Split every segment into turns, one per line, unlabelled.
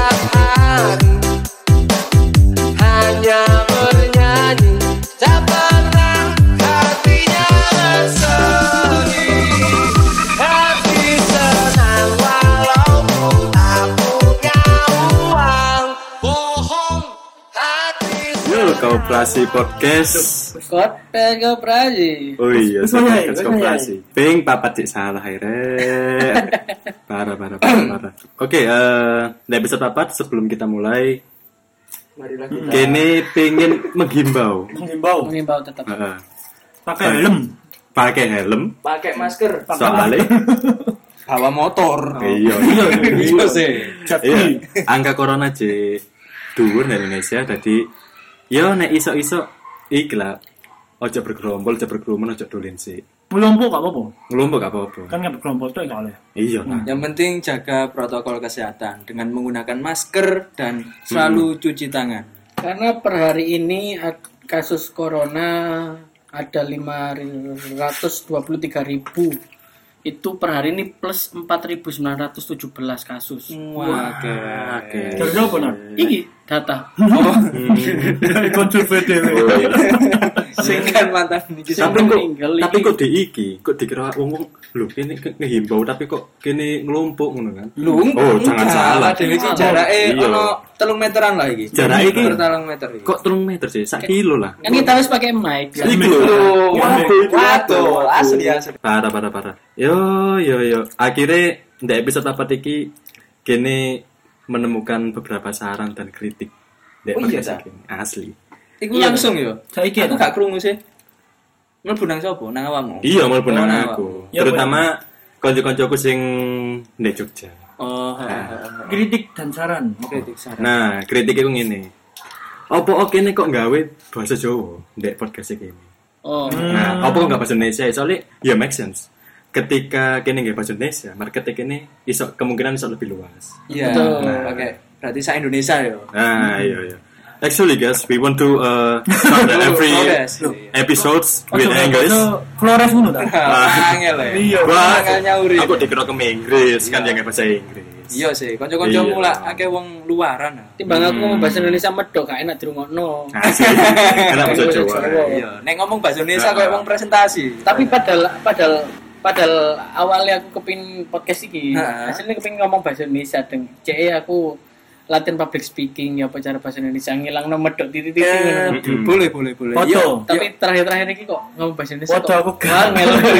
hari hanya bernyanyi tak pernah hatinya bersedih hati senang walaupun tak punya uang bohong hati
Yuk, Koperasi Podcast.
Koper koperasi.
Oh iya,
Wes mulai,
podcast
wes
Koperasi. Ping papat cek salah akhirnya. parah, parah, parah, parah. Oke, eh di episode papat sebelum kita mulai,
Marilah kita
kini pingin menghimbau.
menghimbau
Mengimbau tetap.
Heeh.
pakai helm
Pakai helm,
pakai masker, Oh.
soalnya
bawa motor.
iya, iya,
Iya sih.
iya.
jadi
Angka corona c dhuwur dari Indonesia, jadi yo nek iso-iso ikhlas. Ojo bergerombol, ojo berkerumun, ojo dolin sih.
melompok gak apa-apa
Ngelompok gak apa-apa.
kan nggak berkelompok tuh nggak boleh
Iya, nah.
Yang penting jaga protokol kesehatan dengan menggunakan masker dan selalu cuci tangan.
Karena per hari ini ak- kasus corona ada 523.000 ribu. Itu per hari ini plus 4.917 kasus.
Wah,
Oke. Hmm,
dari apa nah
Iki data.
dari konsurve dewe
Oh, iya.
Singkat mantan niki.
Sing
tapi kok
meninggal
tapi
iki.
kok di iki kok dikira wong wong lho kene ke- ngehimbau tapi kok kene ngelompok ngono kan oh jangan salah
Iya, Dewi sih
Salah.
jarake
Iya.
ono telung meteran lah iki.
Jarake iki.
Meter telung meter iki.
kok telung meter sih sak kilo lah
Kan kita harus pakai mic.
Iki lho
Iya.
waduh
Waduh, asli asli.
parah parah parah yo yo yo akhirnya ndak episode apa iki kene menemukan beberapa saran dan kritik Ndek
Oh, iya,
podcast
Ta?
iki. asli
Iku langsung yo.
Saiki ya,
aku
Ta?
gak krungu sih. Mlebu nang sapa? Nang awakmu.
iya maupun
Oh,
nang
nang
aku
Iya,
terutama kanca-kancaku sing ndek Jogja
Oh, ha, ha, ha.
kritik dan saran
kritik saran.
Nah, kritiknya ku ngene. Apa oke nih kok gawe bahasa Jawa ndek podcast iki?
Oh,
Hmm.
Nah, apa kok nggak bahasa Indonesia? Soalnya ya make sense. Ketika kene nggak bahasa Indonesia, market kene iso kemungkinan iso lebih luas.
Iya.
Betul.
Oke. Berarti sa Indonesia ya? yo.
Nah,
Hmm.
iya iya. Actually guys, we want to uh, start the every
Progress.
episodes
Oh,
with
coba,
English.
itu Flores ngono ta
Ah.
Angel ya.
Iya,
Wah,
Angel nyauri.
aku dikira ke Inggris kan yang bahasa Inggris.
Iya sih, kanca-kancamu
Iya.
lah akeh wong luaran. ah.
timbang aku ngomong bahasa Indonesia medok gak enak dirungokno.
Asik. Enak Ah, bahasa
Bahasa
Jawa.
Jawa.
Iya, nek ngomong bahasa Indonesia
Nah.
koyo wong presentasi.
Tapi padahal padahal padahal awalnya aku kepin podcast iki.
Ha.
Aslinya kepin ngomong bahasa Indonesia deng. CE aku latihan public speaking ya apa cara bahasa Indonesia ngilang nomor dok titik titik
Eh,
ngono.
Mm-mm.
boleh boleh boleh.
Foto.
Iya,
Tapi terakhir-terakhir ini kok ngomong bahasa Indonesia.
Waduh, aku gak.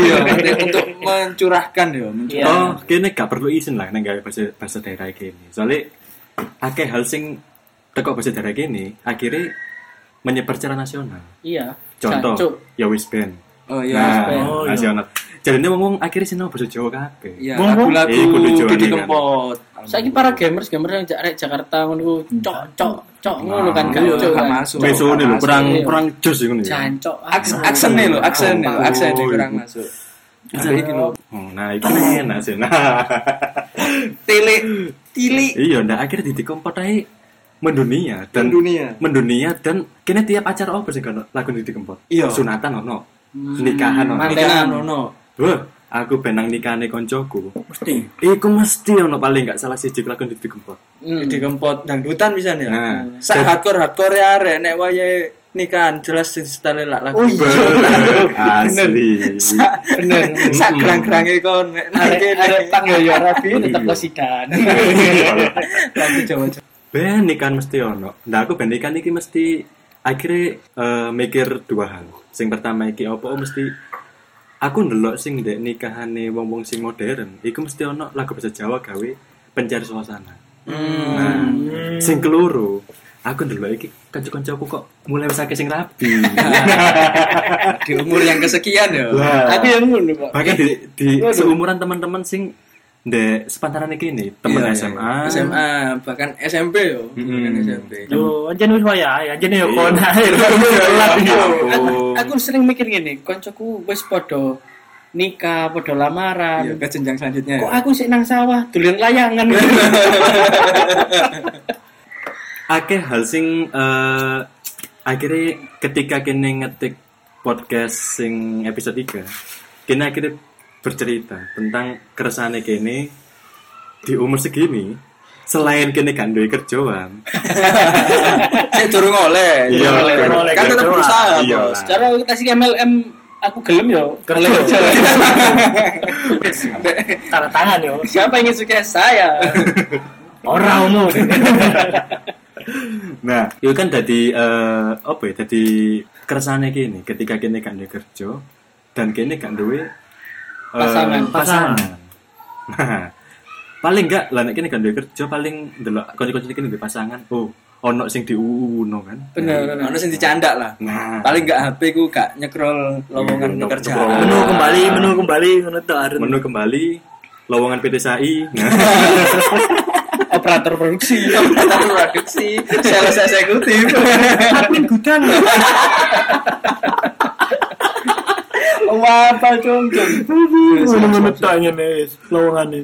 iya, nek untuk mencurahkan yo, mencurahkan.
Iya.
Oh, kene gak perlu izin lah nek gawe bahasa bahasa daerah kene. Soale akeh hal sing teko bahasa daerah kene akhirnya menyebar secara nasional.
Iya.
Contoh,
Jancuk.
ya wis ben.
Oh iya,
nah,
Mas Ben.
Oh, iya.
nasional. Jadinya wong-wong akhirnya sinau bahasa Jawa kabeh.
Iya,
Wong- wong-
Eh, kudu
lagu-lagu
Joni
Didi
kan.
Kempot.
Saiki para gamers gamers yang arek Jakarta ngono ku cok cok cok ngono kan
Iya,
jancuk
gak
kan.
masuk.
Besok
Gak
ini lho
masuk.
kurang
iya.
kurang jos iku nih.
Jancuk.
Aks- aksennya lho, aksennya,
Oh,
aksennya
iya.
kurang masuk. Bisa iki lho.
Oh, nah, itu enak sih. Nah,
Tili, tili.
iya, nah akhirnya titik kompor ae mendunia dan
Mendunia.
mendunia dan kene tiap acara apa sih kan lagu titik kompor
Iya. Hmm.
sunatan ono nikahan ono
Mantenan.
ono.
Wah, aku benang nikahane koncoku.
mesti
Iku mesti ono paling gak salah siji lakon di gempot.
Hmm.
Didi Kempot dangdutan bisa nih. ya.
Nah,
Sak hardcore hardcore ya arek nek wayahe nikahan jelas sing style lak
Oh,
lagu.
bener, asli.
Bener.
Sak gerang-gerange kon nek
Arek arek
nek
panggil yo Rabi tetep
Iya.
kosidan.
lagu Jawa.
Ben nikahan mesti ono. Nah, aku ben nikahan iki mesti akhirnya eh, mikir dua hal. Sing pertama iki opo mesti aku ndelok sing ndek nikahane wong-wong sing modern, iku mesti ono lagu bahasa Jawa gawe pencari suasana. Nah, sing keluru, aku ndelok iki kanca-kancaku kok mulai wis akeh sing rapi.
Di umur yang kesekian ya.
Wah.
Aku yang ngono kok.
Bahkan di, di seumuran teman-teman sing de sepantaran iki nih, temen
Iya, iya.
SMA.
SMA, bahkan SMP yo. Bahkan
Mm.
SMP.
yo anjen wis wayahe anjen yo kon
Iya.
ae. Telat
Ya
iki.
aku, aku sering mikir gini koncoku wis podo nikah podo
Iya,
lamaran
ke jenjang selanjutnya. ya.
kok aku sih nang sawah dulian layangan
Akeh hal sing eh, akhirnya ketika kene ngetik podcast sing episode 3, kene akhirnya bercerita tentang keresahannya kene di umur segini selain kene gak duwe kerjaan
Saya turun oleh.
Iya,
Durung oleh.
durung
oleh
Kan tetap
kerja.
berusaha,
Iya.
Bos.
Cara orientasi MLM aku gelem yo.
Kerja.
Boleh kerja.
Tanda tangan yo.
Siapa yang ingin sukses saya?
Orang umum.
nah itu kan jadi eh, apa ya jadi keresahannya gini ketika kene gak duwe kerja dan kene gak duwe eh,
Pasangan.
pasangan Nah, paling gak lah nek kene gak duwe kerja paling delok kanca-kanca kene duwe pasangan oh ono sing diuuno kan
Bener.
Ono sing dicandak lah.
nah
Paling enggak HP ku gak nyekrol lowongan
Iya,
pekerjaan.
Menu kembali, menu kembali, menu tuh harus.
menu kembali lowongan PT SAI nah
Operator produksi.
Tata produksi, sales eksekutif.
Admin gudang.
Wah, apa cung cung?
Menu-menu tuh yang ini, lowongannya.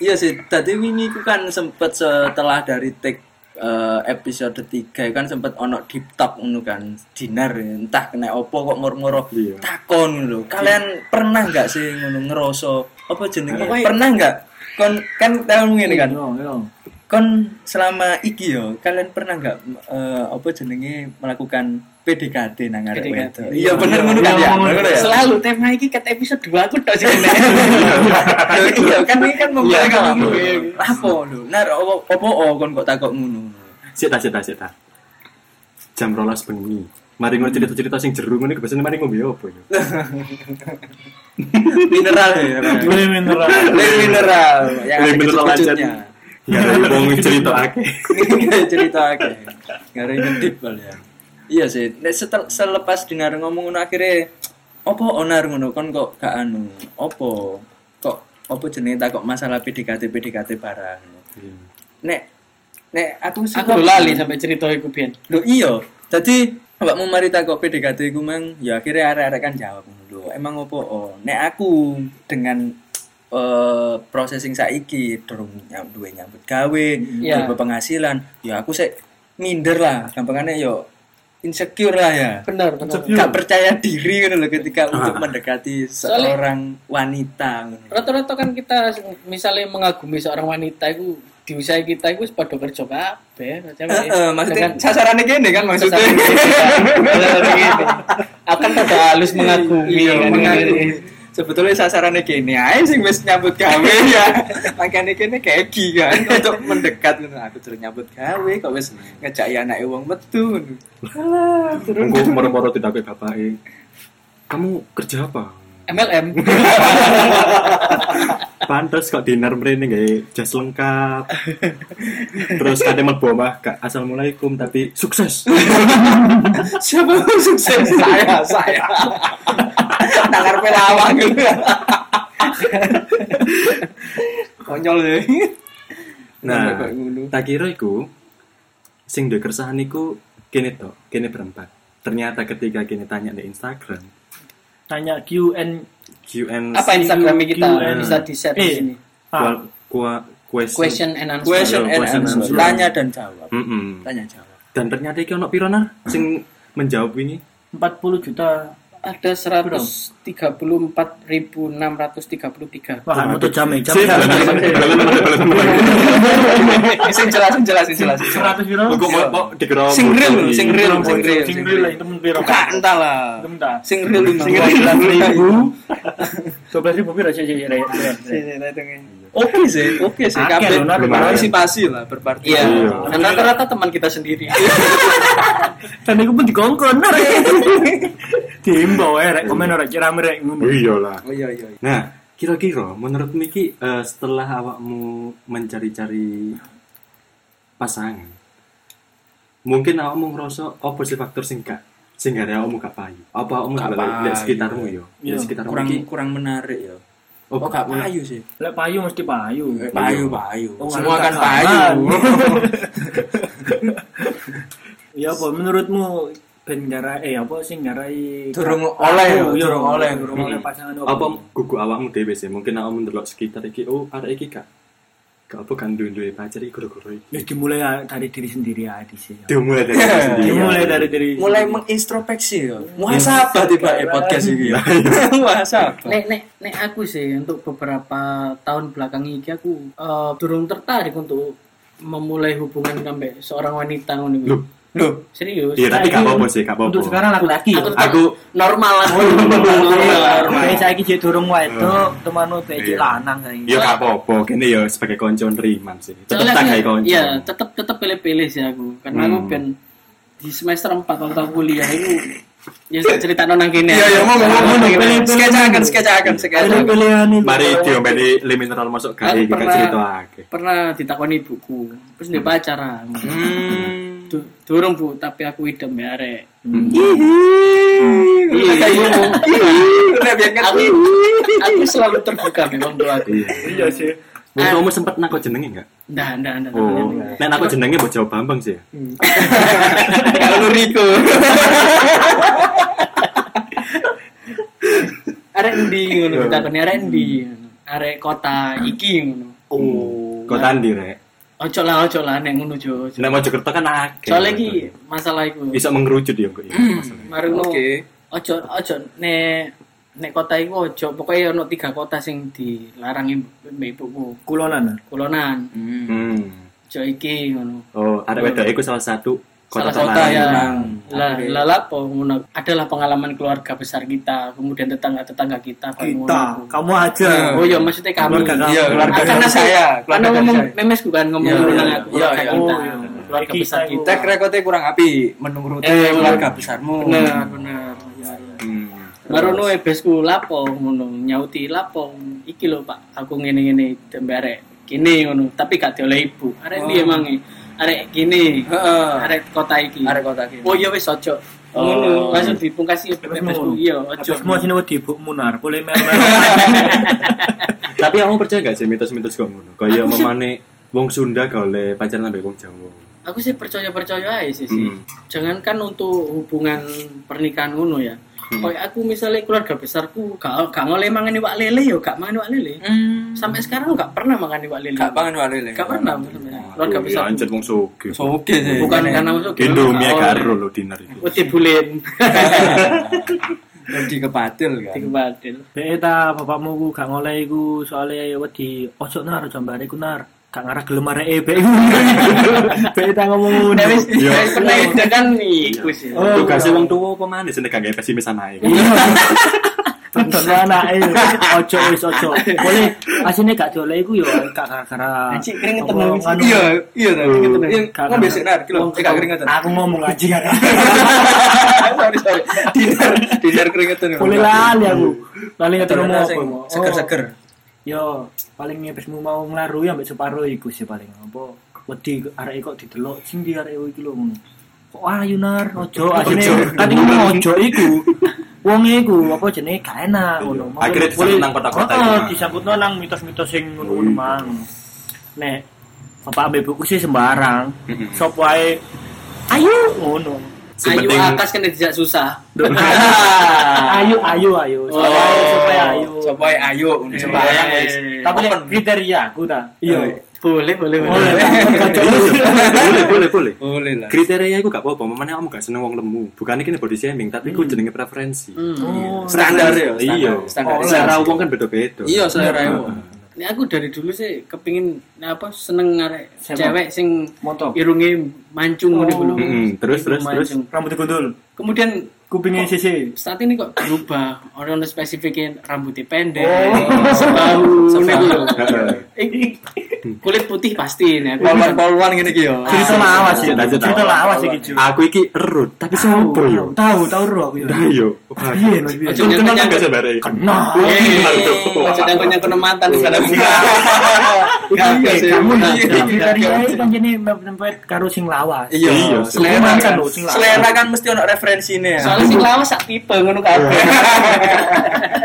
Iya sih, tadi wingi ku kan sempet setelah dari take eh, episode 3 kan sempet ono deep talk ngono kan dinar ya. entah kena opo kok ngoro-ngoro
Iya.
takon lho
Iya.
kalian pernah nggak sih ngono ngeroso apa jenenge
ya?
Pokoknya-
pernah nggak kon kan tahu ngene kan
Yo, yo.
kon selama iki yo kalian pernah nggak eh, apa jenenge melakukan PDKT nang arek
PDKT.
wedok iya bener
Iya,
ngono kan
iya,
ya
ngono.
bener ya?
Selalu tema ini kat episode 2 aku tak sih.
Lho, iya kan ini kan
Iya,
memulai kan
iya, iya.
apa lho nar opo opo oh, kon kok takok ngono
Sita, sita, sita. Jam rolas bengi. Mari ngono cerita-cerita sing jeru ngene kebiasaan mari ngombe apa ya?
mineral ya
Beli mineral.
Lain mineral ya, yang ada
Lek menurut lanjut.
kecut-kecutnya
Ya ada wong cerita akeh.
cerita akeh nggak ada yang deep bal ya iya sih Nek setel, selepas dinar ngomong ngono akhirnya opo onar ngono kon kok gak anu opo kok opo jenenge tak kok masalah PDKT PDKT barang
Iya.
nek nek aku sih
Aku
kok-
lali sampai cerita iku pian.
Lho iya. Dadi awakmu mari takok PDKT iku mang ya akhirnya arek-arek kan jawab lho. Emang opo? Oh, nek aku dengan eh, proses processing saiki durung nyam- duwe nyambut gawe,
Iya.
duwe penghasilan, ya aku sik minder lah. Gampangane yo insecure lah ya.
Bener, bener.
Gak percaya diri ngono lho ketika untuk mendekati
Soalnya-
seorang wanita ngono.
Rata-rata kan kita misalnya mengagumi seorang wanita itu di usia kita itu pada kerja kabeh.
Eh, eh, maksudnya
Dengan-
sasarannya gini kan maksudnya.
akan pada kan halus mengagumi
iya,
kan,
mengagumi.
gitu.
sebetulnya sasarannya gini aja sing wis nyambut gawe ya makanya gini kayak gini kan untuk mendekat ngono. aku terus nyambut gawe kok wis ngejak ya anak uang metu ngono. Alah, terus
Engko moro-moro tidak kayak bapake. Kamu kerja apa?
MLM
Pantes kok dinner mrene gawe jas lengkap. Terus kate mlebu omah gak assalamualaikum tapi sukses. Nah,
siapa yang sukses saya saya tangar pelawang gitu konyol ya. deh
Nah,
Kok ngono.
tak kira iku sing duwe keresahan iku kene to, kene berempat. Ternyata ketika kene tanya di Instagram,
Tanya QN.
QN
apa Instagram kita
Q&A.
bisa di share di
Eh,
sini
ah,
Kual- kua- question.
question and answer
question and
Question and
answer
answer.
tanya dan jawab
Mm-mm.
tanya jawab
Dan ternyata iki ono piro Nar, sing menjawab ini?
40 juta.
ada 134.633
Wah, kamu tuh jam jam.
Sih, balen- balen- balen- balen- balen- balen.
sing jelas sing jelas sing jelas, sing jelas.
100 euro.
Kok mau- mau dikira
Sing
bocor
real,
iki?
sing real.
Sing real,
sing
sing
real.
real lah, itu mentira.
Bukan, entahlah.
Entah.
Sing real memang.
Sing real, 12 ribu pira sih sih
Oke sih, oke sih.
Akeh
Kabeh
lho, Nak,
berpartisipasi lah, berpartisipasi.
iya
Iya.
dan rata-rata teman kita sendiri
Dan aku pun dikongkon rek. Diimbau ya rek, komen rek, rame rek ngono.
Oh, iyalah.
Oh iya iya. iya.
Nah, kira-kira menurut Miki eh, setelah awakmu mencari-cari pasangan, mungkin awakmu ngerasa apa sih faktor sing gak sing gak ada awakmu gak payu? Apa awakmu gak
Gak
payu
payu.
sekitarmu yo?
Iya,
Di sekitarmu
Kurang
iki.
kurang menarik ya.
Oh,
Oh, gak payu sih.
Lek payu mesti payu.
Eh, Payu, payu.
Oh,
Semua
anu
kan
gak
payu.
Ya apa menurutmu ben gara- eh apa sih ngarai
Durung oleh, ya?
Oh, iya,
durung oleh, Hmm.
durung oleh pasangan
Hmm. apa gugu awakmu dhewe sih? Mungkin awakmu ndelok sekitar iki oh arek iki gak gak apa kan duwe pacar iki goro-goro iki. Iya.
Ya dimulai ya dari diri sendiri ya di sini.
Dimulai dari diri sendiri.
Dimulai dari diri.
Mulai mengintrospeksi ya. Muhasabah tiba eh podcast iki. ya. Muhasabah.
nek nek nek aku sih untuk beberapa tahun belakang ini aku eh, durung tertarik untuk memulai hubungan sampai seorang wanita ngono iku.
Loh,
Loh,
Serius.
iya tapi
Saiki
gak apa-apa sih, gak apa-apa.
Untuk sekarang laki-laki
Aku
ya.
tetap
Aku
normal lah.
Kayak saiki jek durung wedok,
Hmm.
temanu teh
Iya.
cek lanang saiki.
ya gak apa-apa, kene ya sebagai konco neriman sih. Tetep
Soalnya
tak
aku-
kayak konco.
Iya, tetep tetep pilih-pilih sih aku. Karena aku
Hmm.
ben di semester 4 waktu aku kuliah itu ya saya cerita nang kene.
sketsa Iya, akan, sketsa akan, sketsa
Ada
akan.
pilihan itu.
Mari diombeni limineral masuk gawe
Aku
iki gak
Eh, pernah-
cerita akeh.
Pernah ditakoni ibuku, terus dia pacar. aku.
Hmm.
Du- Durung Bu, tapi aku idem ya rek.
Iya,
Iya,
iya.
iya.
Udah, biar
Aku
ngerti.
aku selalu terbuka memang doa aku.
Iya.
Iya sih.
Eh.
Wong tuamu sempet nako jenenge enggak?
Ndah, ndah, ndah.
Oh, nek nako jenenge mbok jawab Bambang sih. ya?
Hmm.
Kalau Riko.
Arek endi ngono ditakoni arek endi. Arek kota iki ngono.
Oh.
Kota ndi rek?
Ojo lah, ojo lah nek ngono jo.
Nek Mojokerto kan akeh.
Soalnya iki Hmm. masalah iku.
bisa mengerucut ya kok ya masalahnya.
Mari ngono. Ojo ojo nek nek kota iku ojo pokoke ono tiga kota sing dilarang im- mbek ibuku.
Kulonan. ah?
Kulonan,
Hmm.
ojo iki ngono.
Oh, ada beda itu salah satu kota
Salah kota
terlarang.
ya.
Larang.
Lah
Oke.
lah lah po ngono. Adalah pengalaman keluarga besar kita, kemudian tetangga-tetangga kita po,
Kita,
ngono.
kamu aja.
Oh iya maksudnya kami.
Keluarga kamu.
Hmm. Iya, keluarga
Akan
dari
aku-
saya.
Karena
Keluarga dari
ngomong
saya.
memesku kan ngomong
Iya,
tentang
iya,
aku, keluarga
iya,
kita.
iya.
Keluarga
Kita
besar
itu.
kita.
Tek rekodnya kurang api menurut
Eh,
keluarga besarmu.
Benar, benar.
Hmm.
Baru nu ebesku lapo ngono nyauti lapo iki lho Pak aku ngene-ngene dembare kini ngono tapi gak oleh ibu arek
Oh.
piye mangi arek kini
Heeh.
arek kota iki
Arek kota iki.
oh iya wis ojo
Oh.
ngono langsung dipungkasi
Terus
ebesku iya ojo
mau sini wedi ibu munar, boleh mer.
Tapi kamu percaya gak sih mitos-mitos kok ngono? Kayak memane wong Sunda gak oleh pacaran ambek wong Jawa.
aku sih percaya-percaya aja sih sih
Hmm.
jangankan untuk hubungan pernikahan ngono ya
Hmm.
Kayak aku misalnya keluarga besarku gak gak ngoleh mangan iwak lele yo gak mangan iwak lele. Sampai sekarang aku gak pernah mangan iwak lele.
Hmm. Gak pangan wali lagi.
Gak pernah. bener-bener. Keluarga
Aduh,
besar.
ya anjir wong soge.
So oke sih.
Bukan
Iya,
karena masuk.
Indomie karo lo dinner itu.
Uti bulen.
Jadi kepatil kan.
Dikebadil.
Iya.
Be ta bapakmu ku gak ngoleh iku soalnya wedi ojo nar jambare ku nar. Gak ngarah gelem arek e be. Be ta ngomong ngono.
Nah wis
Iya.
wis pernah itu kan iku sih.
Oh,
Tugasnya
iya.
wong tuwa apa maneh sing gak gawe pesimis anae.
Tentu anake ojo wis ojo. Boleh asine gak dioleh iku yo gak gara-gara.
Anjing, keringetan
omongan
habis.
ngono.
Iya, iya tau. Iya,
Gak
ngombe sik nar,
gara-
kilo. Eh, gak keringetan.
Aku ngomong anjing gak.
Sorry, sorry. Dinar, dinar keringetan. Kak.
Boleh lali aku. Lali ngeter
Keringetan
ngomong
sing
apa. Oh.
Seger-seger.
Yo, paling ngebesmu mau nglaru ya mbek separo iku sih paling apa wedi arek kok didelok sing di arek iki lho ngono. Kok ayu nar ojo asine kan iku mau ojo iku. Wong iku apa jenenge gak enak ngono.
Iya. Akhirnya disambut nang kota-kota iku,
Heeh,
Mang.
disambutno nang mitos-mitos sing
Oh,
ngono
iya.
mang. Nek bapak ambek ibuku sih sembarang.
Mm-mm.
Sop wae ayu ngono.
Sing
Ayu
penting
akas kan tidak susah.
Oh. Ayu ayu ayu. Sop wae,
Oh.
sop wae ayu.
Sopoy ayu. Sembayang wis.
Tapi nek kriteria aku ta. Iya.
Boleh, boleh, boleh.
Eh, boleh boleh boleh.
Boleh lah.
Kriteria iku gak apa-apa, memangnya kamu gak seneng wong lemu. Bukan ini body shaming, tapi iku jenenge preferensi.
Hmm.
Oh,
Standar ya. standar,
Iya.
Standar.
Selera wong kan beda-beda.
Iya, selera wong.
Ini aku dari dulu sih kepingin apa seneng arek
Sepak.
cewek sing
Montong.
irunge mancung ngono dulu.
Mm-mm. Hmm, Terus, terus, terus.
rambut gundul
Kemudian
kupingnya sisi
saat ini kok berubah orang orang spesifikin rambutnya pendek
Oh.
sebahu
Sebahu.
sebahu.
Heeh.
Eh, kulit putih pasti
Iya,
nih aku
Polwan-polwan ngene iki yo.
cerita lawas ya
lanjut, ya?
cerita
lanjut.
lawas ya gitu
Aku iki erut, tapi sopo yo?
tahu tahu roh aku ya
Ayo.
Piye, Mas, piye?
Itu kenal kan gak sabar ya?
Kenal.
Eh, maksudnya aku yang kena mantan di sana buka
Gak
Iya,
sih.
kamu
Nah,
nih
iya,
kriteria
iya,
itu kan jadi mepet karo sing lawas
Iya,
Iya,
selera
Cuman
kan,
kan lho, sing lawas.
selera kan mesti ono referensine.
soalnya sing lawas sak tipe ngono kabeh
Iya.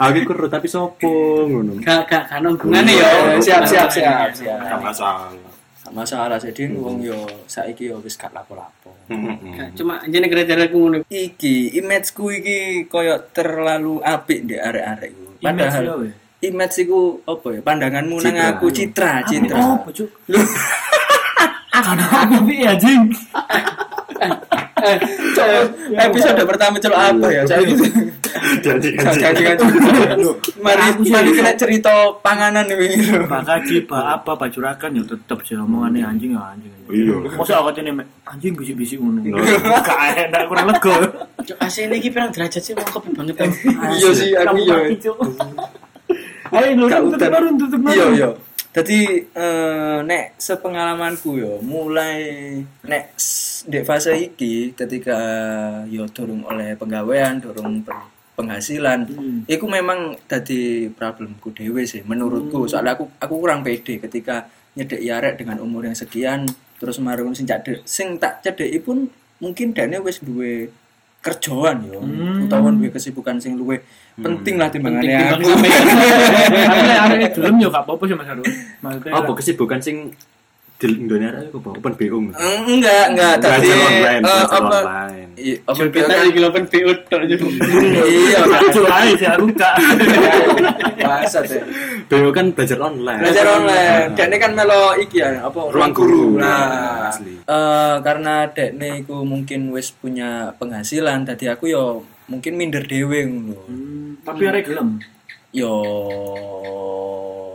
Aku iku erut tapi sopo ngono.
gak gak kan hubungannya ya
Iya, siap siap siap siap.
Gak masalah.
Gak masalah jadi wong yo saiki yo wis gak lapo-lapo.
Gak, cuma jadi kriteria aku ngono
Iki imageku iki koyo terlalu apik di arek-arek iku. Padahal
Image yo, weh.
image iku apa ya? Pandanganmu nang
Citra.
aku citra, citra.
oh bocok karena aku piye anjing
Eh,
Cok, episode pertama celok apa ya? Saiki
Janji
Gak
janji.
gaji gaji.
kan.
Mari
Aku sih- Ah,
mari kita cerita panganan iki.
Bakal ciba apa bajurakan ya tetep sih omongannya anjing ya anjing.
Iya.
Masa aku ini anjing bisik-bisik ngono. Gak enak kurang lega.
Cuk, AC ini iki pirang derajat sih wong kopi banget ya.
Iya sih aku
Kamu
iya.
mati, Cuk. Ayo lu
Gak
tutup
udan.
baru tutup baru.
Iya iya. Jadi eh, nek sepengalamanku yo mulai nek s- di fase iki ketika yo dorong oleh penggawean, dorong per- penghasilan, iku memang tadi problemku dewe sih menurutku. Soalnya aku aku kurang pede ketika nyedek yarek dengan umur yang sekian terus marun sing tak de- sing tak cedeki pun mungkin dene wis duwe kerjaan yo utawa duwe kesibukan sing luwe penting lah timbangane
Penting
aku.
Eh, Akhirnya akhirnya eh, gelem yo gak apa-apa sih Mas Harun. Maksudnya
Apa kesibukan sing di Indonesia itu apa? Open BO nggak?
Eh, Enggak, enggak. Tadi
Belajar online,
eh,
belajar
apa?
online.
I- apa
Kita
kan-
iki lho pen PU tok yo.
Iya,
Cuk, ayo sih aku eh, gak.
bahasa teh.
BO kan belajar online. Nah,
Belajar online. Dekne kan melo iki ya, apa?
Ruang guru.
Nah,
Asli.
eh, karena dekne iku mungkin wis punya penghasilan, tadi aku yo mungkin minder dhewe ngono.
Tapi arek gelem.
Yo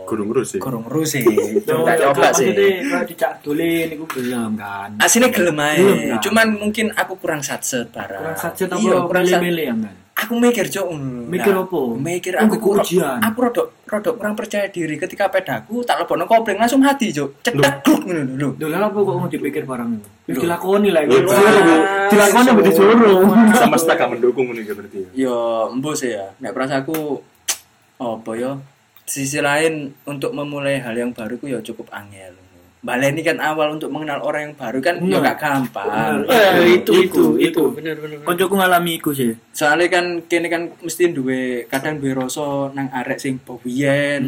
Guru ngurus sih.
Kurang sih. Coba
Cuk,
coba
maksudnya
sih.
kalau dicak dolin iku gelem kan.
Asine gelem ae.
Belum,
nah.
kan?
Cuman mungkin aku kurang satset parah.
Kurang saja
Iya,
apa
kurang sat-
milih-milih ya kan.
aku mikir cok ngono.
Mikir
Nah,
apa?
mikir
Kan
aku
kuku
kurang
ujian.
aku rodok rodok kurang percaya diri ketika pedaku tak lebokno kopling langsung mati cok cetak gluk ngono lho
Dolar apa kok mau dipikir barang itu? Wis dilakoni lah
Loh,
iku. Eh, Disuruh.
Mas.
Dilakoni apa disuruh?
Semesta gak mendukung ini berarti ya.
yo embus ya nek perasaanku apa yo Di sisi lain untuk memulai hal yang baru ku yo cukup angel Baleni kan awal untuk mengenal orang yang baru kan yo
Bener.
gak gampang.
Eh, itu itu itu bener bener. bener.
Koncoku ngalami iku sih.
Soalnya kan kene kan mesti duwe kadang duwe rasa nang arek sing bobiyen.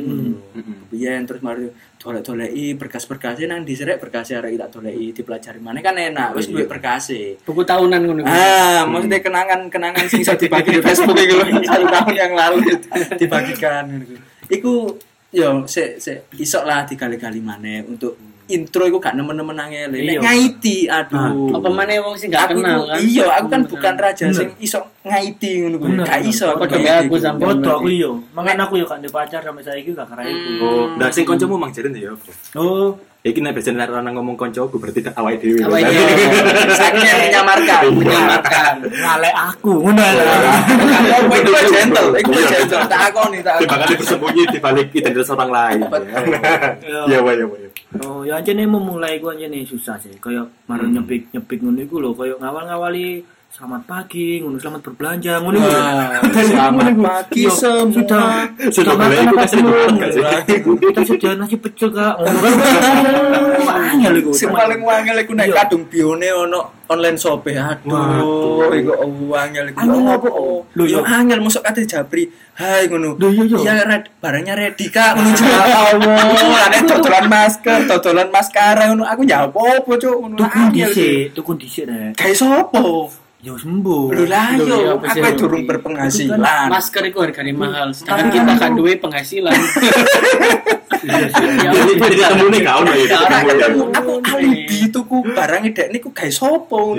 Biyen terus mari dolek-doleki berkas-berkasnya nang diserek berkasnya arek tak doleki dipelajari mana kan enak wis duwe berkasnya.
Buku tahunan ngono.
Ah, maksudnya kenangan-kenangan sing iso dibagi di Facebook iki lho, satu tahun yang lalu itu dibagikan gitu. Iku yo sik sik isok lah digali-gali maneh untuk intro iku gak nemen-nemen angel. Nek
Iya.
ngaiti aduh.
Apa maneh wong sing gak
Aku
kenal
tuh-
kan?
Iya, aku kan bukan
ra
raja sing iso ngaiti ngono kuwi.
Bener.
Gak iso aku gitu.
Padha
ngaiti
kayak aku
kuwi.
sampe-
Bodoh aku yo. Mangan aku yo gak ndek pacar sampe saiki gak keren iku.
Hmm.
Oh, nah sing koncomu mang jarin ya apa?
Oh,
Iki nek biasane nek orang ngomong konco aku berarti tak awake dhewe. Iya.
Awake dhewe.
Iya.
Iya.
Saking Iya, menyamarkan, menyamarkan.
ngalek aku ngono lah.
Iya.
Iya.
Iku iku gentle, iku gentle. Iya. Tak akoni, tak
Iya.
akoni.
Dibakar bersembunyi di balik identitas orang lain. Ya wae ya wae.
Oh, ya aja nih memulai gua aja nih susah sih. Kayak marun nyepik nyepik ngono iku lho, kayak ngawal-ngawali selamat pagi, ngono selamat berbelanja ngono iku.
Wah,
Dan iku
selamat
ngono iku.
pagi
Yo,
semua.
Sudah
Sudah mulai iku
apa
kasih
belum?
dibuat gak sih?
Kita sudah nasi pecel Kak. Ngono kan. Angel iku.
Sing paling wangel iku
Iya.
nek kadung bione ono online shop Aduh, iku oh, wangel iku.
Angel apa? Oh. Lho,
Lho yo
yo.
angel mosok kate Jabri. Hai ngono.
Lho, iya, iya.
Iya red, barangnya ready Kak ngono. Ya Allah, nek dodolan masker, dodolan maskara ngono. Aku ya apa-apa cuk ngono.
Tukun
Angel iki.
dhisik, tukun dhisik Rek.
Kayak sopo?
Yo sembuh.
Lho lah
Lho, iya,
yo,
apa
aku
sih, Robi?
durung berpenghasilan.
masker itu harganya mahal
Ah.
sedangkan kita kan duwe penghasilan ya
Jadi ketemu nih kau nih. ketemu ya.
Ora Iya, ketemu aku alibi tuku barang edek niku gawe sopo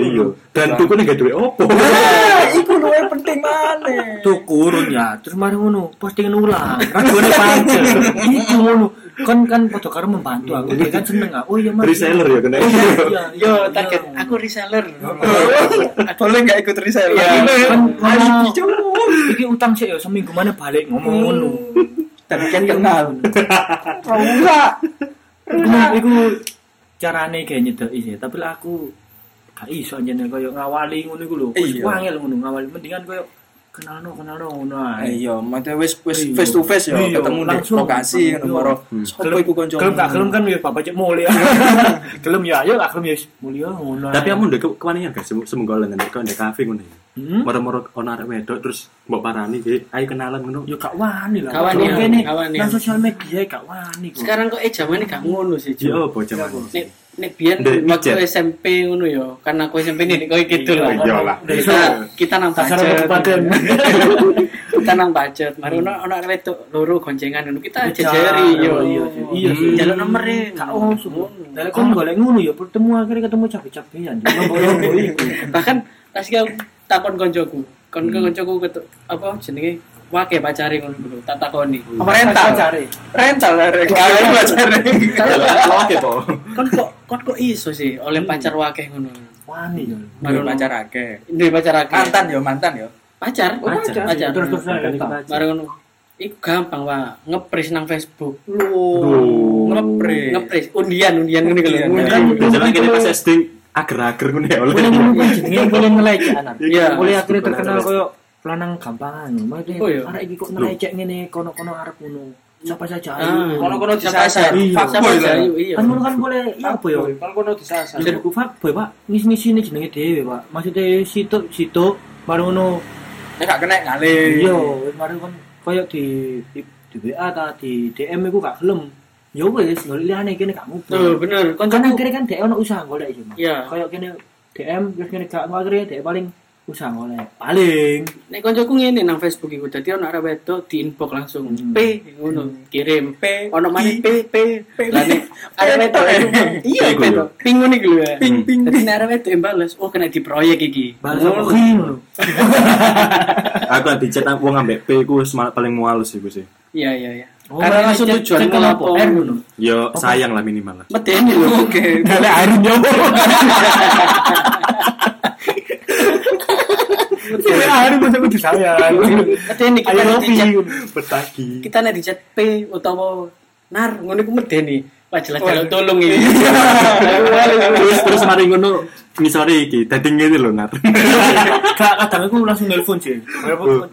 Iya.
ngono.
Dan tuku nih gak duwe opo.
Nah, iku luwih penting maneh.
tuh kurun ya terus mari ngono posting ulang kan gue nih pancel itu ngono kan kan foto karo membantu aku dia kan seneng ah oh iya mas
Reseller ya kena.
iya
yo target aku reseller
Boleh nggak ikut resell?
kan
Ayo,
ngomong
cuy.
iki utang sih ya seminggu mana balik ngomong ngono
Tapi kan kenal. Tahu nggak?
iku Nah, iku carane kayak nyedeki sih tapi lah aku gak iso jenenge koyo ngawali ngono iku lho wis
Iya.
wangel ngono ngawali mendingan koyo kenal no kenal no ngono ah. ae
Iya, maksudnya wis wis
Iya.
face to face ya,
Iya,
ketemu di
langsung.
lokasi
Iya. Hmm.
nomor sopo iku kanca.
Gelem gak gelem kan ya bapak cek mulia. gelem ya ayo gak gelem ya wis mulia ngono. ae.
Tapi kamu udah kewanian gak sih? Semoga lah nanti kau udah kafe ngono.
Hmm?
Moro-moro ono arek wedok terus mbok parani "Eh, ayo kenalan ngono.
Yo gak wani lah.
Gak wani,
Kalau kene
gak wani.
Nang sosial media gak wani kok.
sekarang kok eh zamannya gak ngono sih
Ya
Jo
apa jaman?
nek nek biyen
Ndek
waktu
micet.
SMP ngono yo kan aku SMP nih kok gitu
Iya,
lah
Iya lah.
Iso.
kita kita nang
Pasar
budget
kabupaten.
kita nang budget mari ono ono arek wedok loro goncengan ngono kita
Iya,
jejeri yo
iya, iya sih.
jaluk nomere
Gak usah. Lah kon golek ngono ya bertemu akhirnya ketemu cabe-cabean. Yo, yo, yo, yo.
bahkan Tasya takon koncoku. Kon
Hmm.
ke koncoku ketu- apa jenenge wake pacare ngono dulu, tak takoni.
Apa rental? Cari.
rental arek kawin pacare
Oke, po.
Kon kok kon kok iso sih
Hmm.
oleh pacar wakeh ngono.
Wani yo.
baru pacar akeh
Duwe pacar akeh.
mantan yo mantan yo
Pacar.
Oh, pacar.
Pacar.
Terus terus
Makanya kita
rental.
Baru ngono. Iku gampang wah, ngepris nang Facebook.
Oh.
Duh.
ngepres
Ngepris undian undian ngene kalau
Kan
undian.
jalan kene pas SD ager-ager ngene ya oleh.
Boleh ngono kuwi jenenge boleh ngelecek anak.
Iya.
Boleh akhirnya terkenal koyo lanang gampangan. Maksudnya
Oh, iya.
arek iki kok ngelecek ngene kono-kono arep ngono. Siapa saja
Ah.
ayo.
Kono-kono
Siapa
disasar.
aja?
Iya.
Siapa
Fuckboy
aja?
lah.
Iya, Iya.
Kan ngono kan boleh apa yo?
kan kono disasar
Jadi aku fuckboy, Pak. Ngis-ngisi ini jenenge dhewe, Pak. Maksudnya situ-situ baru ngono
nek gak kena ngale
Iya, kemarin kan koyo di di, di WA ta di DM iku gak gelem. Ya wis, golek liyane kene gak
Tuh,
ngobrol.
bener. Kon
Kan akhirnya kan dhek ono usaha golek iki. Mas.
Iya.
Koyo kene DM terus kene gak mau akhirnya dhek paling usaha golek. Paling.
Nek koncoku ngene nang Facebook iku dadi ana arek wedok di inbox langsung.
Hmm.
P ngono, kirim
P,
Ono maneh
I,
P P P. Lah nek
P,
arek wedok
P.
ya.
iku, iya
Iku
wedok. Ping ngono iku lho. ya.
ping ping
Dadi nek arek wedok yang bales, oh kena diproyek iki.
Balas
Ngono.
aku "Hi," ngono.
Aku lagi chat wong ambek P iku wis mal- paling mualus iku sih.
Iya iya iya.
Oh,
Karena
makanya
langsung
cek-
tujuan
cek
ngelapo
apa?
R
R
ngono.
Yo sayang lah minimal lah.
Medeni lho.
oke
Dalek arep yo. Dalek arep aku disayang.
Medeni
Ayo
kita nek
ngopi.
di chat
Betagi.
kita nek di chat P utawa nar ngono iku medeni. Wah jelas
Oh,
jaluk
iya.
tolong iki.
terus terus mari ngono ngisore iki dadi ngene lho gitu Nat.
Kak, kadang aku langsung nelpon sih.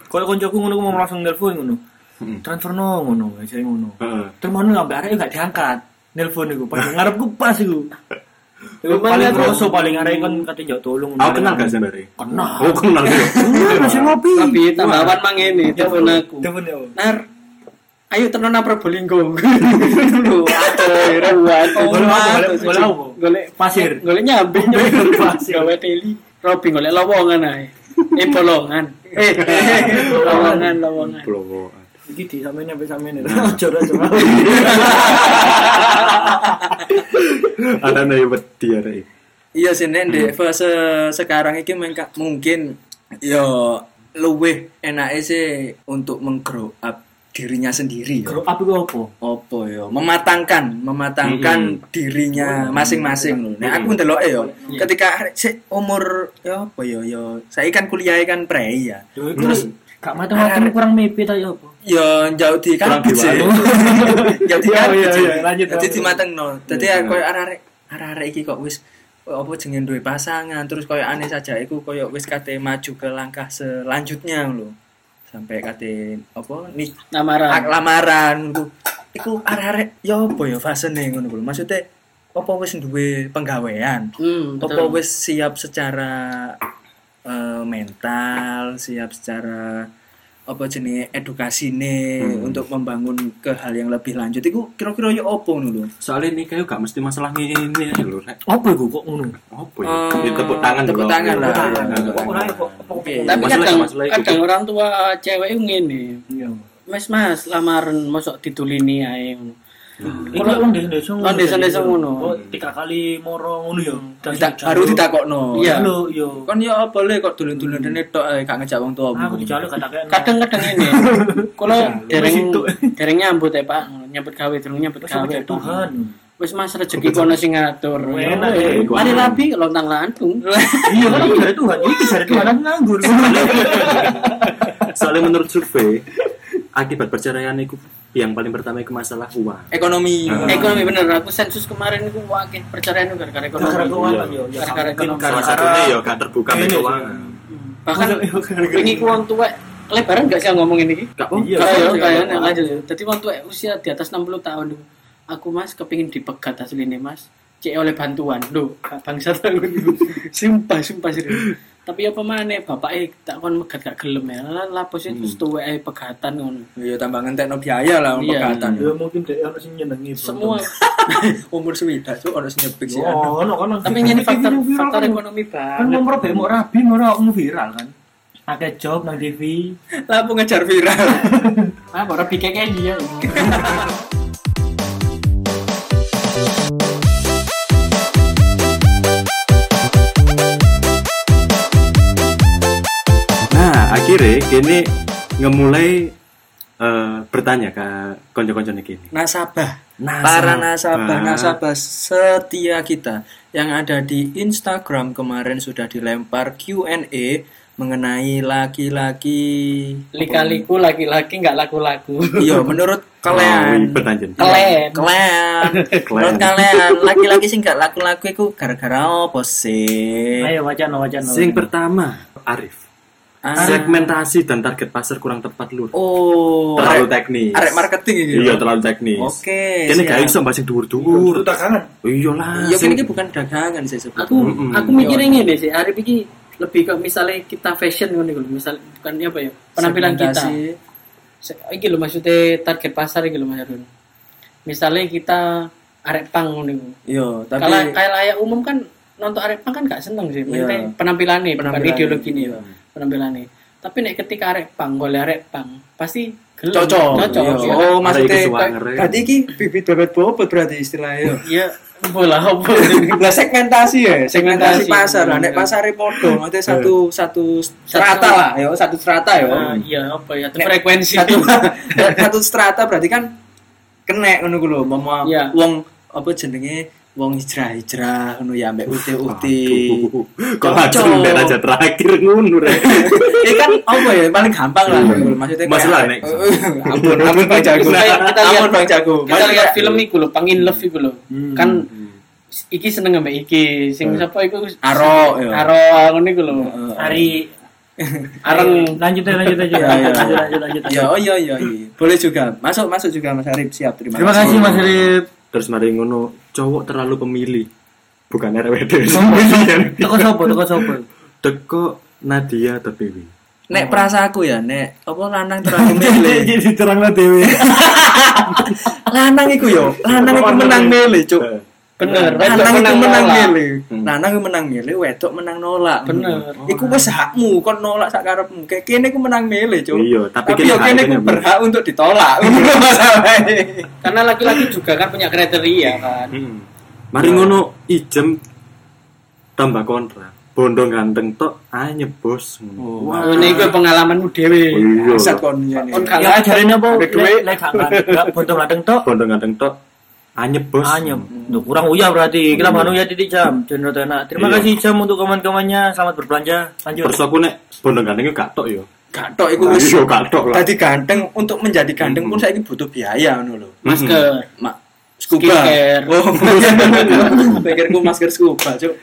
Kalau koncoku ngono aku mau langsung nelpon ngono.
Heeh.
Transfer no ngono, saya ngono.
Heeh.
Terus mau ngambil arek gak diangkat. Nelpon iku, pas ngarepku pas iku. Iku
Cuman
paling
lihat-
kroso paling arek kon kate njok tolong.
Aku kenal gak sendiri?
Kenal.
Oh kenal yo.
Kenal masih ngopi.
Tapi tambahan mang ngene telepon aku.
Telepon "Oh, yo.
Nar, ayo tenan nang Probolinggo.
Aduh,
Ruwet.
Golek apa? Golek- golek apa?
Golek
Pasir.
golek nyambi nyambi pasir. Gawe teli. Robi golek lowongan ae. Eh bolongan. Eh lowongan lowongan.
Blowokan.
Iki di sampeyan sampe sampeyan. Ojo ojo.
Ada nih wedi ya, ada iki.
iya sih nek di fase sekarang iki mengka- mungkin yo luwih enake sih untuk menggrow up dirinya sendiri yo.
Apa iku opo?
opo yo mematangkan mematangkan dirinya masing-masing lho nek aku ndelok yo ketika si umur yo apa yo yo saya kan kuliah kan prei ya
Terus gak
Nah.
matang-matang kurang mimpi ta yo opo?
yo jauh di
Kurang
kampus sih
diwalu.
jauh di
Iya,
kampus
iya,
sih.
iya, lanjut,
jadi
lanjut.
di mateng no jadi
Iya,
aku arek arek iki kok wis apa jenenge duwe pasangan terus koyo aneh saja iku koyo wis kate maju ke langkah selanjutnya lho sampai kate apa nih ak
Namaran.
lamaran iku iku arek-arek ya apa ya fasene ngono kuwi maksudnya apa wis duwe penggawean
Hmm,
apa
betul.
wis siap secara eh, mental siap secara apa jenis edukasine untuk membangun ke hal yang lebih lanjut iku kira-kira ya apa ngono lho
Soalnya nikah yo gak mesti masalah ngene lho Rek.
Apa iku kok ngono?
Nah,
Apa ya?
Eh,
Ya, tepuk tangan iya,
tepuk
dong.
tangan lah.
Tepuk tangan.
Kok ora kok opo?
Tapi
Oke.
Iya, Masalah-
kadang
masalah itu.
kadang orang tua eh, cewek itu ngene.
Iya.
Mas mas lamaran mosok ditulini ae ngono.
Kalau orang desa-desa ngono.
Orang desa-desa ngono.
Oh, tiga kali moro ngono ya.
Dita- baru ditakokno
Iya.
Iya. Lho, yo.
kon ya apa le kok dulun-dulun rene tok eh, gak ngejak wong tuamu
Aku dijaluk kata kayak
kadang-kadang ini kalau dereng
Iya, situ.
dereng nyambut ya pak nyambut gawe dereng nyambut
Wes
gawe
sampe
Pak.
Tuhan.
wis mas rezeki kono sing ngatur Ya.
Enak,
eh.
mari labi lontang lantung
Iya, kan aku dari Tuhan. Iki dari Tuhan aku nganggur.
Soalnya menurut survei akibat perceraian itu yang paling pertama itu masalah uang.
ekonomi
Nah.
Ah.
ekonomi bener aku sensus kemarin aku wakil perceraian itu gara-gara
Gara-gara
ekonomi
keuangan yo. Ya,
Gara-gara
mungkin
ekonomi.
Salah
gara-gara-
satunya yo gak terbuka
Ini sih.
keuangan.
bahkan
Gara-gara-
ini ku wong tuwek lebaran gak sih ngomong ini
Gak
Iya,
kayak
iya,
kayak
iya.
lanjut ya. Tadi waktu usia di atas 60 tahun dulu. Aku mas kepingin dipegat asli ini mas. Cek oleh bantuan lo. Bangsa tahun dulu. Sumpah sumpah serius. Tapi apa mana bapak eh tak kon megat gak gelem ya. Lah, Lapos itu
Hmm.
setuwe eh pegatan ngono.
ya tambah ngentekno biaya lah
Iya.
pekatan
Ya mungkin dia harus nyenengi.
Semua.
umur suwida tuh harus nyepik sih
Oh, ono kan.
Tapi ini faktor
Viral
faktor
kan.
ekonomi
Kan
banget.
mau probe mau rabi mau ra- mau viral kan. Ada job nang TV.
lah aku ngejar viral
Ah baru pikir kayak dia.
Nah, akhirnya kini ngemulai eh, bertanya ke konco-konco kini
nasabah
Nasabah.
para
Ah.
nasabah nasabah setia kita yang ada di Instagram kemarin sudah dilempar Q&A mengenai laki-laki
Lika-liku laki-laki nggak laku-laku.
iya menurut
Oh,
kalian
ribet anjir
Kelen.
kalian menurut kalian laki-laki sih nggak laku-laku itu gara-gara apa sih
Ayo wacana wacana.
Sing pertama, Arif.
Ah.
Segmentasi dan target pasar kurang tepat lur.
oh
terlalu
arek-
teknis.
arek marketing ini
Iya,
lho.
terlalu teknis.
Oke,
Kene
siap.
gak iso mbahas sing dhuwur-dhuwur.
kangen
Iya lah.
Iya,
sing-
ini bukan dagangan sih sebetulnya.
aku
Mm-mm.
aku
Iya,
mikirnya gini sih hari ini lebih ke misalnya kita fashion ngono iku lho, misal bukan apa ya penampilan kita
Segmentasi.
Se- iki lho maksudnya target pasar iki lho Mas Harun misalnya kita arek pang ngono iku
Iya, tapi
kalau kayak layak umum kan nonton arek pang kan gak seneng sih maksudnya penampilannya bukan
Iya. Penampilannya. iya.
ideologi ini penampilannya tapi nek ketika arek pang golek arek pang pasti gelem.
cocok.
cocok
Iya.
ya.
Oh,
Ada
maksudnya
iki suwangere.
tadi iki bibit bebet bobot berarti istilahnya.
ya bola apa
Lah segmentasi ya,
Segmentasi.
segmentasi pasar. Lah nek pasare podo, maksudnya satu satu strata lah, ya satu strata ya.
Ah, iya apa ya
Nek-
frekuensi
Satu satu strata berarti kan kena ngono ku lho, mama
Iya.
wong apa jenenge wong hijrah-hijrah ngono ya ambek uti-uti.
Waduh, Kok aja
Cocok.
ndek aja terakhir ngono rek.
Ini kan apa ya paling gampang lah
Iya.
ngono. maksudnya kayak-
Masalah, Nek.
ampun ampun Bang Jago
Kita- kita lihat-
ampun Bang Jago
kita
ya.
lihat film iku lho pangin love iku lho
Hmm,
kan iki seneng ambek iki sing sapa iku
Aro, hmm. iya.
Aro ngono iku lho
Ari
Areng
Eh, lanjut aja, lanjut aja
Iya, iya.
lanjut lanjut lanjut, lanjut.
Ya, oh iya iya iya. Boleh juga. Masuk masuk juga Mas Arif. Siap, terima,
Terima kasih Mas Rip.
Terus mari ngono, cowok terlalu pemilih. Bukan RWD. Iya.
Toko sopo, toko sopo.
Teko Nadia The Dewi.
Nek prasaku ya, nek apa lanang terlalu milih.
terang lah dewe.
lanang iku yo, lanang iku menang
Iya.
milih, Cuk.
Eh,
bener kan wedok
Lanang iku menang
nolak.
milih. Lanang iku menang milih, wedok menang nolak.
Bener.
Iku wis hakmu kon nolak sak karepmu. Kayak kene iku menang milih, Cuk.
Iya, tapi
tapi
kene
yo kene
haknya
iku
milih.
berhak untuk ditolak. Ngono masalahnya.
karena laki-laki juga kan punya kriteria kan
Hmm. Mari ngono ijem tambah kontrak. Bondo ganteng tok anyep bos ngono. Wah.
ngono iku pengalamanmu dhewe
Iya.
Bangsat kon ngene.
Kon gak
Ya ajarin apa?
Ada duit.
Lek lek gak gak bodong ladeng tok.
Bondo ganteng tok anyep bos.
Anyem. Duh, kurang uyah berarti. Kita baru ya titik jam. Jono enak. Terima
Iya.
kasih jam untuk kawan-kawannya. Selamat berbelanja. Lanjut.
Terus aku nek bondo ganteng gak tok yo.
Gatok iku wis
Iya gak tok lah.
Tadi ganteng untuk menjadi ganteng pun saya butuh biaya ngono lho.
masker
Mak scuba.
Skincare.
Oh, pikirku masker scuba, Cuk.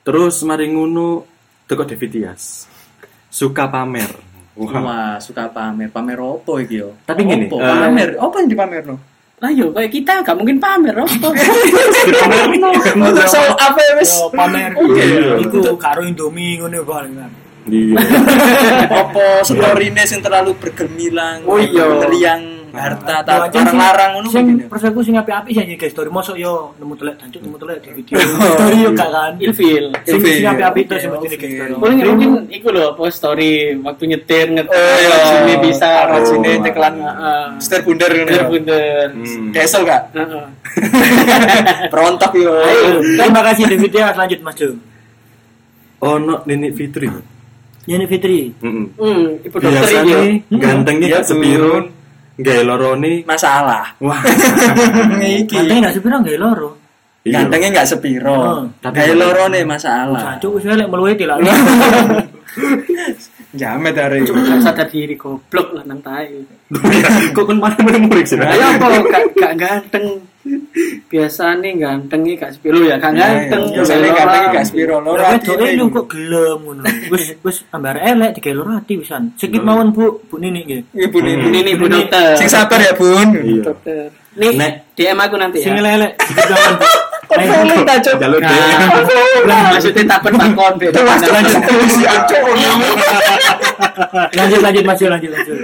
Terus mari ngono teko Devitias. Suka pamer. Wah.
Wah, suka pamer. Pamer opo iki yo?
Tapi gini,
Opo?
eh,
pamer. Opo yang dipamerno?
lah yo kayak kita gak mungkin pamer rosto
Untuk show apa ya, wis?
Yo, pamer.
Iya.
Iku karo Indomie ngono paling kan.
Iya.
Opo storine sing terlalu bergemilang.
Oh, iya.
Meliang harta
Yo, aja
tak
sing-
larang-larang ngono
Sing
mungkin ya.
persaku sing api-api sih guys. Story mosok yo nemu telek dancuk nemu telek di video.
Oh,
Story yo
iya.
gak kan.
ilfil
Sing
Ilfil.
sing api-api itu
Oke,
seperti ini
oke.
guys. story.
Mungkin mungkin iku lho apa story waktu nyetir ngetir
Oh, iya.
sini bisa
Arah
sini
cekelan. Ster bundar ngono. ya.
bener-bener
Hmm.
Desel gak?
Heeh.
Perontak yo.
Terima kasih David ya. Lanjut Mas Jo.
Ono Nenek Fitri.
Yani Fitri.
Heeh.
Hmm, ibu dokter
Biasanya
ini. Iya.
gantengnya gak sepirun, gak lorone.
Masalah.
Wah.
Ganteng gak sepira gak loro.
Iya.
Gantengnya nggak sepiro.
Oh,
tapi-
Kayak loro nih masalah.
Jancuk wis elek meluwe lah.
Jamet hari.
Cuma gak sadar diri goblok lah nang tai.
Kok kan mana mana murid sih?
Ayo apa gak, gak ganteng. Biasanya gantengnya gak sepilo ya, gak ganteng.
Biasanya gantengnya gak sepiro. Loro
Lah
hati
wedoke
nih.
lu kok gelem ngono. Wis wis ambar elek digelor ati wisan. Sikit mawon Bu, Bu Nini nggih.
Ibu nih.
Ini nih ibu dokter.
Sing sabar ya bun.
Iya.
Dokter. Nih,
Nek.
DM aku nanti
Sing
ya.
elek elek sikit mawon Bu.
Jalur
Nah,
deh.
nah, maksudnya takut takon beda.
Si Ancol.
Lanjut lanjut Mas Jo, lanjut lanjut.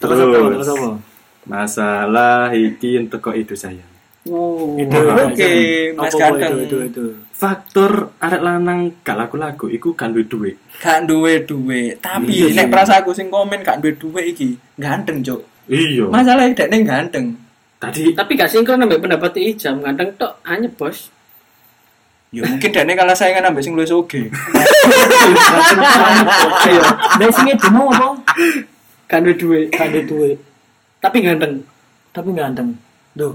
Terus apa? Terus
Terus
apa?
masalah iki entek kok itu saya.
Oh.
Itu,
Oke,
itu.
Mas
Apa, Bu,
Ganteng.
Itu itu itu.
Faktor arek lanang gak laku-laku iku kan duwe duit.
Gak duwe duwe, tapi nek prasaku sing komen gak duwe duwe iki ganteng cok.
Iya.
Masalah iki dekne ganteng.
Tadi
Tapi gak sinkron sampai pendapat Ijam, ganteng tok hanya bos.
Ya mungkin dene kalah saingan ambek sing luwih sugih.
Dari sini demo apa?
Kan ada duit,
Gak ada duit,
tapi ganteng.
tapi ganteng. Duh.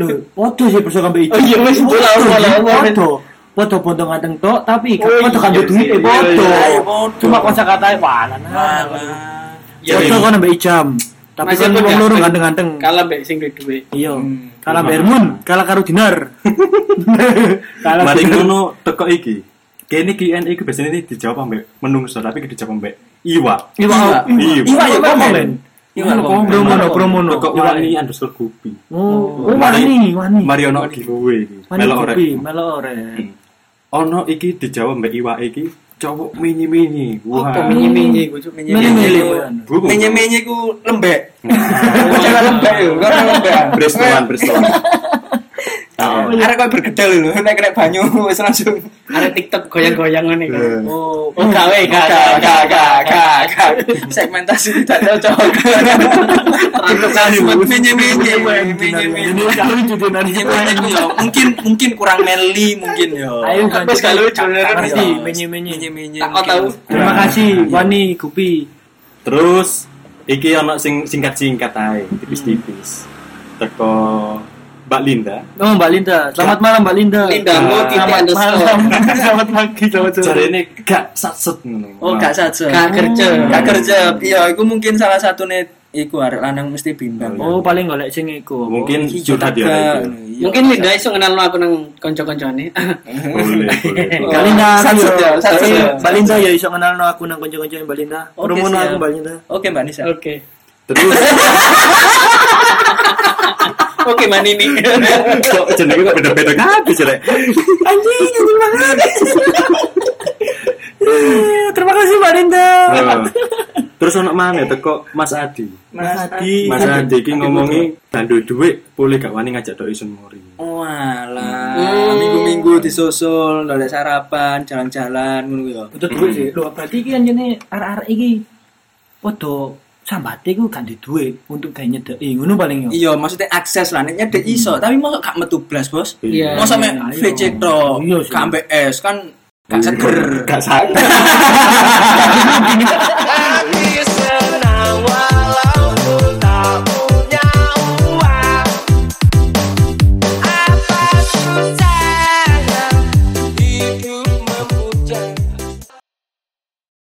Loh, podo sih perso sampai iki.
Oh iya, wis, bola, bola, bola.
Podo. Podo podo ganteng tok, tapi
Oh
podo kan
iya
duit
sih, iya,
podo.
iya,
iya, podo.
Cuma kosakatanya walan.
Ya,
Podo
iya.
kan sampai ijam. Tapi
Masih
kan
pun
wong loro
ganteng.
ganteng-ganteng.
Kalah mbek sing duwe duit.
Iya.
Hmm.
Kalah Bermun, kalah karo Dinar. kalah
Mari
Dinar.
ngono teko iki. Kene iki NE iki biasanya ini dijawab ambek menungso tapi iki dijawab ambek iwa.
Iwa,
Iwa.
Iwa ya komen.
Iwa ya
komen.
komen.
Bromono, Bromono.
Teko
Iwa.
wani underscore gupi.
Oh, oh, wani, wani.
Mari ono giveaway iki.
Wani
Melok
kopi,
orek.
melo orek.
Ono iki dijawab mbek iwa iki cowok mini-mini. Wah.
Apa minyi-minyi ku cuk.
Mele-mele.
Bungkus.
Menye-menye ku lembek. Aku jangan lembek yo, kok ora lembek.
Brestolan, brestolan.
Ah, Arek kok bergedel lho, nek kena banyu wis langsung.
Ada TikTok goyang-goyang ngene kan.
Eh.
Oh,
Oh, gawe, gawe,
Gak, gak,
gawe.
gak, gak, gak. Segmentasi tidak cocok.
Transformasi.
Menye-menye,
ini
menye-menye.
kalau lucu Dinar.
Menye-menye yo, mungkin mungkin kurang manly mungkin yo.
Ayo
Tapi
ganti.
kalau lucu
Tak
Dinar,
ngerti,
yo.
menye-menye.
Menye-menye.
Tak tahu.
Terima kasih Wani Gupi.
Terus iki ono sing singkat-singkat ae,
Hmm.
tipis-tipis. Teko Mbak Linda.
Oh Mbak Linda, selamat malam Mbak Linda.
Linda mau
Ah,
titik
Selamat malam,
underscore.
selamat pagi, selamat sore.
Jarene gak satset ngono.
Oh, gak saja.
Gak kerja.
Gak kerja. Iya, iku mungkin salah satune iku arek lanang mesti bimbang.
Oh paling golek sing iku. apa?
Mungkin
Iki
curhat ya.
juga. Iya.
Mungkin Linda iso ngenalno aku nang kanca-kancane.
Boleh, boleh.
Mbak Linda,
Satu
ayo.
ya,
Tapi
satu ya.
Mbak Linda ya iso kenalno aku nang kanca-kanca Mbak Linda.
Oke,
Rumono
siap.
aku Mbak Linda.
Oke, Mbak Nisa.
Oke.
Terus
Oke, Manini.
kok jenenge kok beda-beda kabeh jelek.
Anjing, anjing banget. Eh, Terima kasih Mbak Linda.
Nah, Terus ono mana teko Mas Adi.
Mas Adi.
Mas Adi iki ngomongi bandu dhuwit boleh gak wani ngajak dok isun muri.
Walah,
Hmm.
Oh, minggu-minggu disusul, nolak sarapan, jalan-jalan, ngono ya.
Butuh duit sih. Loh, berarti iki anjene arek-arek iki podo sambate iku gak di duit untuk gawe nyedeki ngono paling yo.
Iya, maksudnya akses lah, neknya dek iso, tapi mau gak metu blas, Bos.
Iya.
Mau sampe
Hmm. iya, iya.
VC tok,
Iya sih.
gak ambek es kan gak seger.
Gak santai.
hati